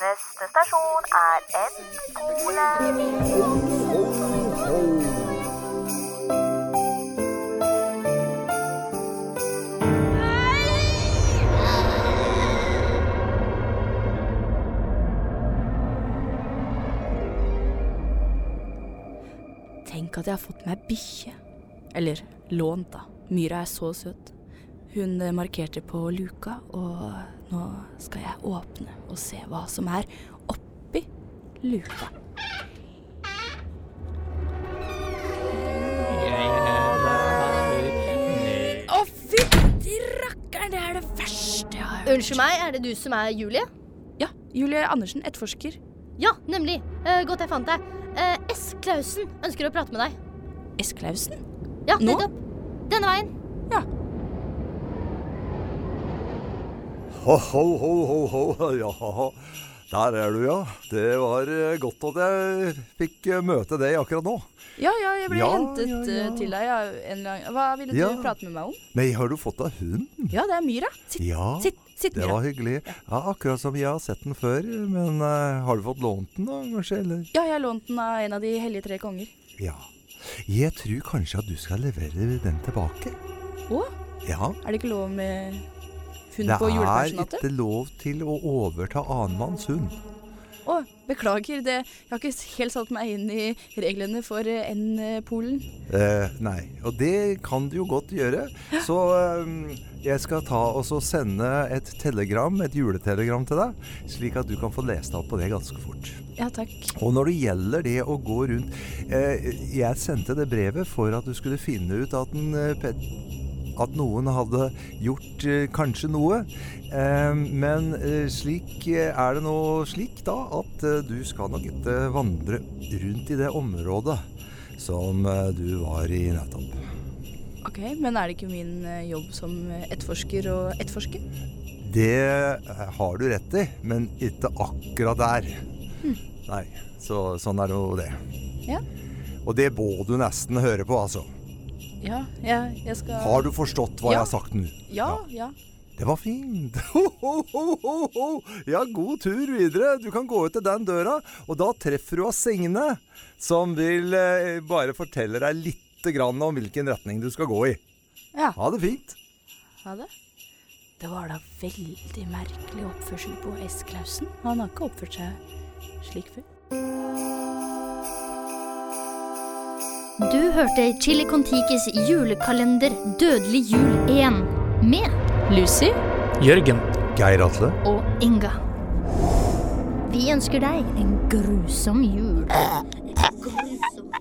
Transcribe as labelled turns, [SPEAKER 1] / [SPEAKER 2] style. [SPEAKER 1] Neste stasjon er N-skole.
[SPEAKER 2] Tenk at jeg har fått meg bikkje. Eller lånt, da. Myra er så søt. Hun eh, markerte på luka, og nå skal jeg åpne og se hva som er oppi luka. Å, fytti rakkeren! Det er det verste jeg har hørt.
[SPEAKER 3] Unnskyld meg, er det du som er Julie?
[SPEAKER 2] Ja, Julie Andersen, etterforsker.
[SPEAKER 3] Ja, nemlig. Eh, godt jeg fant deg. Eh, S. Klausen ønsker å prate med deg.
[SPEAKER 2] Esklausen?
[SPEAKER 3] Ja,
[SPEAKER 2] Nå?
[SPEAKER 3] nettopp. Denne veien.
[SPEAKER 4] Ho, ho, ho, ho, ho. Ja, der er du, ja. Det var eh, godt at jeg fikk eh, møte deg akkurat nå.
[SPEAKER 2] Ja, ja, jeg ble
[SPEAKER 4] Ja,
[SPEAKER 2] hentet
[SPEAKER 4] ja,
[SPEAKER 2] eh,
[SPEAKER 4] ja.
[SPEAKER 2] til deg ja, en eller annen Hva ville du
[SPEAKER 4] Ja.
[SPEAKER 2] prate med meg om?
[SPEAKER 4] Nei, har du fått deg hund?
[SPEAKER 2] Ja, det er Myra. Sitt,
[SPEAKER 4] Ja,
[SPEAKER 2] sitt, sitt
[SPEAKER 4] det
[SPEAKER 2] Myra.
[SPEAKER 4] var hyggelig. Ja, Akkurat som jeg har sett den før, men eh, har du fått lånt den da, kanskje? Eller?
[SPEAKER 2] Ja, jeg lånte den av en av de hellige tre konger.
[SPEAKER 4] Ja. Jeg tror kanskje at du skal levere den tilbake.
[SPEAKER 2] Å,
[SPEAKER 4] Ja.
[SPEAKER 2] er det ikke lov med hund
[SPEAKER 4] Det
[SPEAKER 2] på
[SPEAKER 4] er
[SPEAKER 2] julepersonatet?
[SPEAKER 4] ikke lov til å overta annenmanns hund.
[SPEAKER 2] Å, beklager, det, jeg har ikke helt satt meg inn i reglene for eh, N-polen.
[SPEAKER 4] Eh, nei, og det kan du jo godt gjøre. Så eh, jeg skal ta og så sende et telegram, et juletelegram til deg, slik at du kan få lest deg opp på det ganske fort.
[SPEAKER 2] Ja, takk.
[SPEAKER 4] Og når det gjelder det å gå rundt eh, Jeg sendte det brevet for at du skulle finne ut at, den, eh, pet- at noen hadde gjort eh, kanskje noe. Eh, men eh, slik eh, er det nå slik da at eh, du skal nok ikke vandre rundt i det området som eh, du var i nettopp.
[SPEAKER 2] Ok, Men er det ikke min eh, jobb som eh, etterforsker å etterforske?
[SPEAKER 4] Det eh, har du rett i, men ikke akkurat der. Nei, så, sånn er jo det.
[SPEAKER 2] Ja.
[SPEAKER 4] Og det må du nesten høre på, altså.
[SPEAKER 2] Ja, ja jeg skal
[SPEAKER 4] Har du forstått hva
[SPEAKER 2] Ja.
[SPEAKER 4] jeg har sagt nå?
[SPEAKER 2] Ja, ja.
[SPEAKER 4] Det var fint. Ho, ho, ho, ho, ho. Ja, god tur videre. Du kan gå ut til den døra, og da treffer du av Signe, som vil eh, bare fortelle deg litt grann om hvilken retning du skal gå i.
[SPEAKER 2] Ja.
[SPEAKER 4] Ha det fint.
[SPEAKER 2] Ha det. Det var da veldig merkelig oppførsel på Esklausen. Han har ikke oppført seg slik før.
[SPEAKER 3] Du hørte Chili Contikis julekalender Dødelig jul 1 med
[SPEAKER 2] Lucy?
[SPEAKER 5] Jørgen.
[SPEAKER 4] Geir Atle.
[SPEAKER 3] og Inga. Vi ønsker deg en grusom jul. Grusom.